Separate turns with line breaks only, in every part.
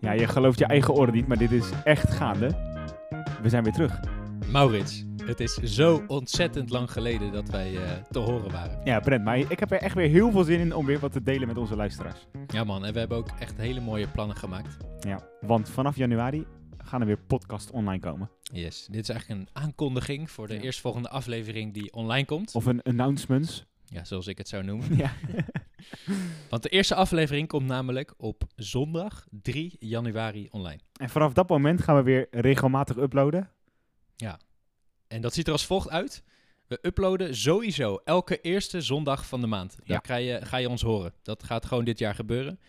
Ja, je gelooft je eigen oren niet, maar dit is echt gaande. We zijn weer terug.
Maurits, het is zo ontzettend lang geleden dat wij eh, te horen waren.
Ja, Brent, maar ik heb er echt weer heel veel zin in om weer wat te delen met onze luisteraars.
Ja man, en we hebben ook echt hele mooie plannen gemaakt.
Ja, want vanaf januari gaan er weer podcasts online komen.
Yes, dit is eigenlijk een aankondiging voor de
Ja.
eerstvolgende aflevering die online komt.
Of een announcements.
Ja, zoals ik het zou noemen.
Ja.
Want de eerste aflevering komt namelijk op zondag 3 januari online.
En vanaf dat moment gaan we weer regelmatig uploaden.
En dat ziet er als volgt uit. We uploaden sowieso elke eerste zondag van de maand. Daar
Ja.
krijg je, ga je ons horen. Dat gaat gewoon dit jaar gebeuren.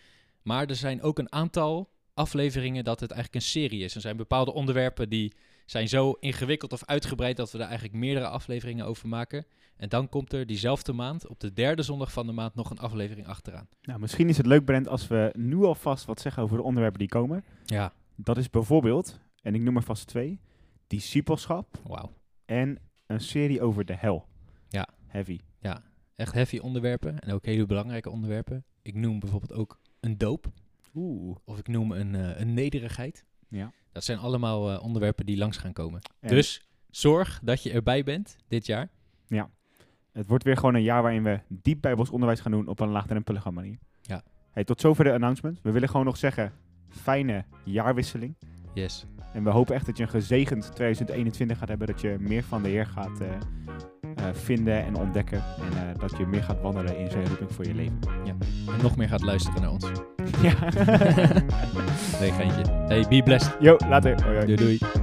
Maar er zijn ook een aantal afleveringen dat het eigenlijk een serie is. Er zijn bepaalde onderwerpen die zijn zo ingewikkeld of uitgebreid dat we daar eigenlijk meerdere afleveringen over maken. En dan komt er diezelfde maand, op de derde zondag van de maand, nog een aflevering achteraan.
Nou, misschien is het leuk, Brent, als we nu alvast wat zeggen over de onderwerpen die komen.
Ja,
Dat is bijvoorbeeld, en ik noem er vast twee, discipelschap
wauw.
en een serie over de hel.
Ja.
Heavy.
Echt heavy onderwerpen en ook hele belangrijke onderwerpen. Ik noem bijvoorbeeld ook een doop.
Oeh.
of ik noem een, eh, een nederigheid.
Ja.
Dat zijn allemaal eh, onderwerpen die langs gaan komen.
En-
Dus zorg dat je erbij bent dit jaar.
Het wordt weer gewoon een jaar waarin we diep bijbels onderwijs gaan doen op een laagdrempelige manier.
Ja.
Hey, tot zover de announcement. We willen gewoon nog zeggen, fijne jaarwisseling.
Yes.
En we hopen echt dat je een gezegend 2021 gaat hebben. Dat je meer van de Heer gaat eh, eh, vinden en ontdekken. En eh, dat je meer gaat wandelen in zijn roeping voor je leven.
En nog meer gaat luisteren naar ons.
Ja.
nee, geintje. Hey, be blessed.
Yo, later. Hoi, hoi.
Doei doei.